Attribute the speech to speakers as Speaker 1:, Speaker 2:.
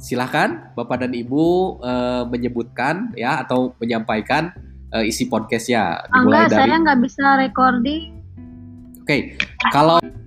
Speaker 1: silahkan Bapak dan Ibu eh, menyebutkan ya atau menyampaikan eh, isi podcastnya.
Speaker 2: Ah, enggak, saya nggak bisa recording.
Speaker 1: Oke, kalau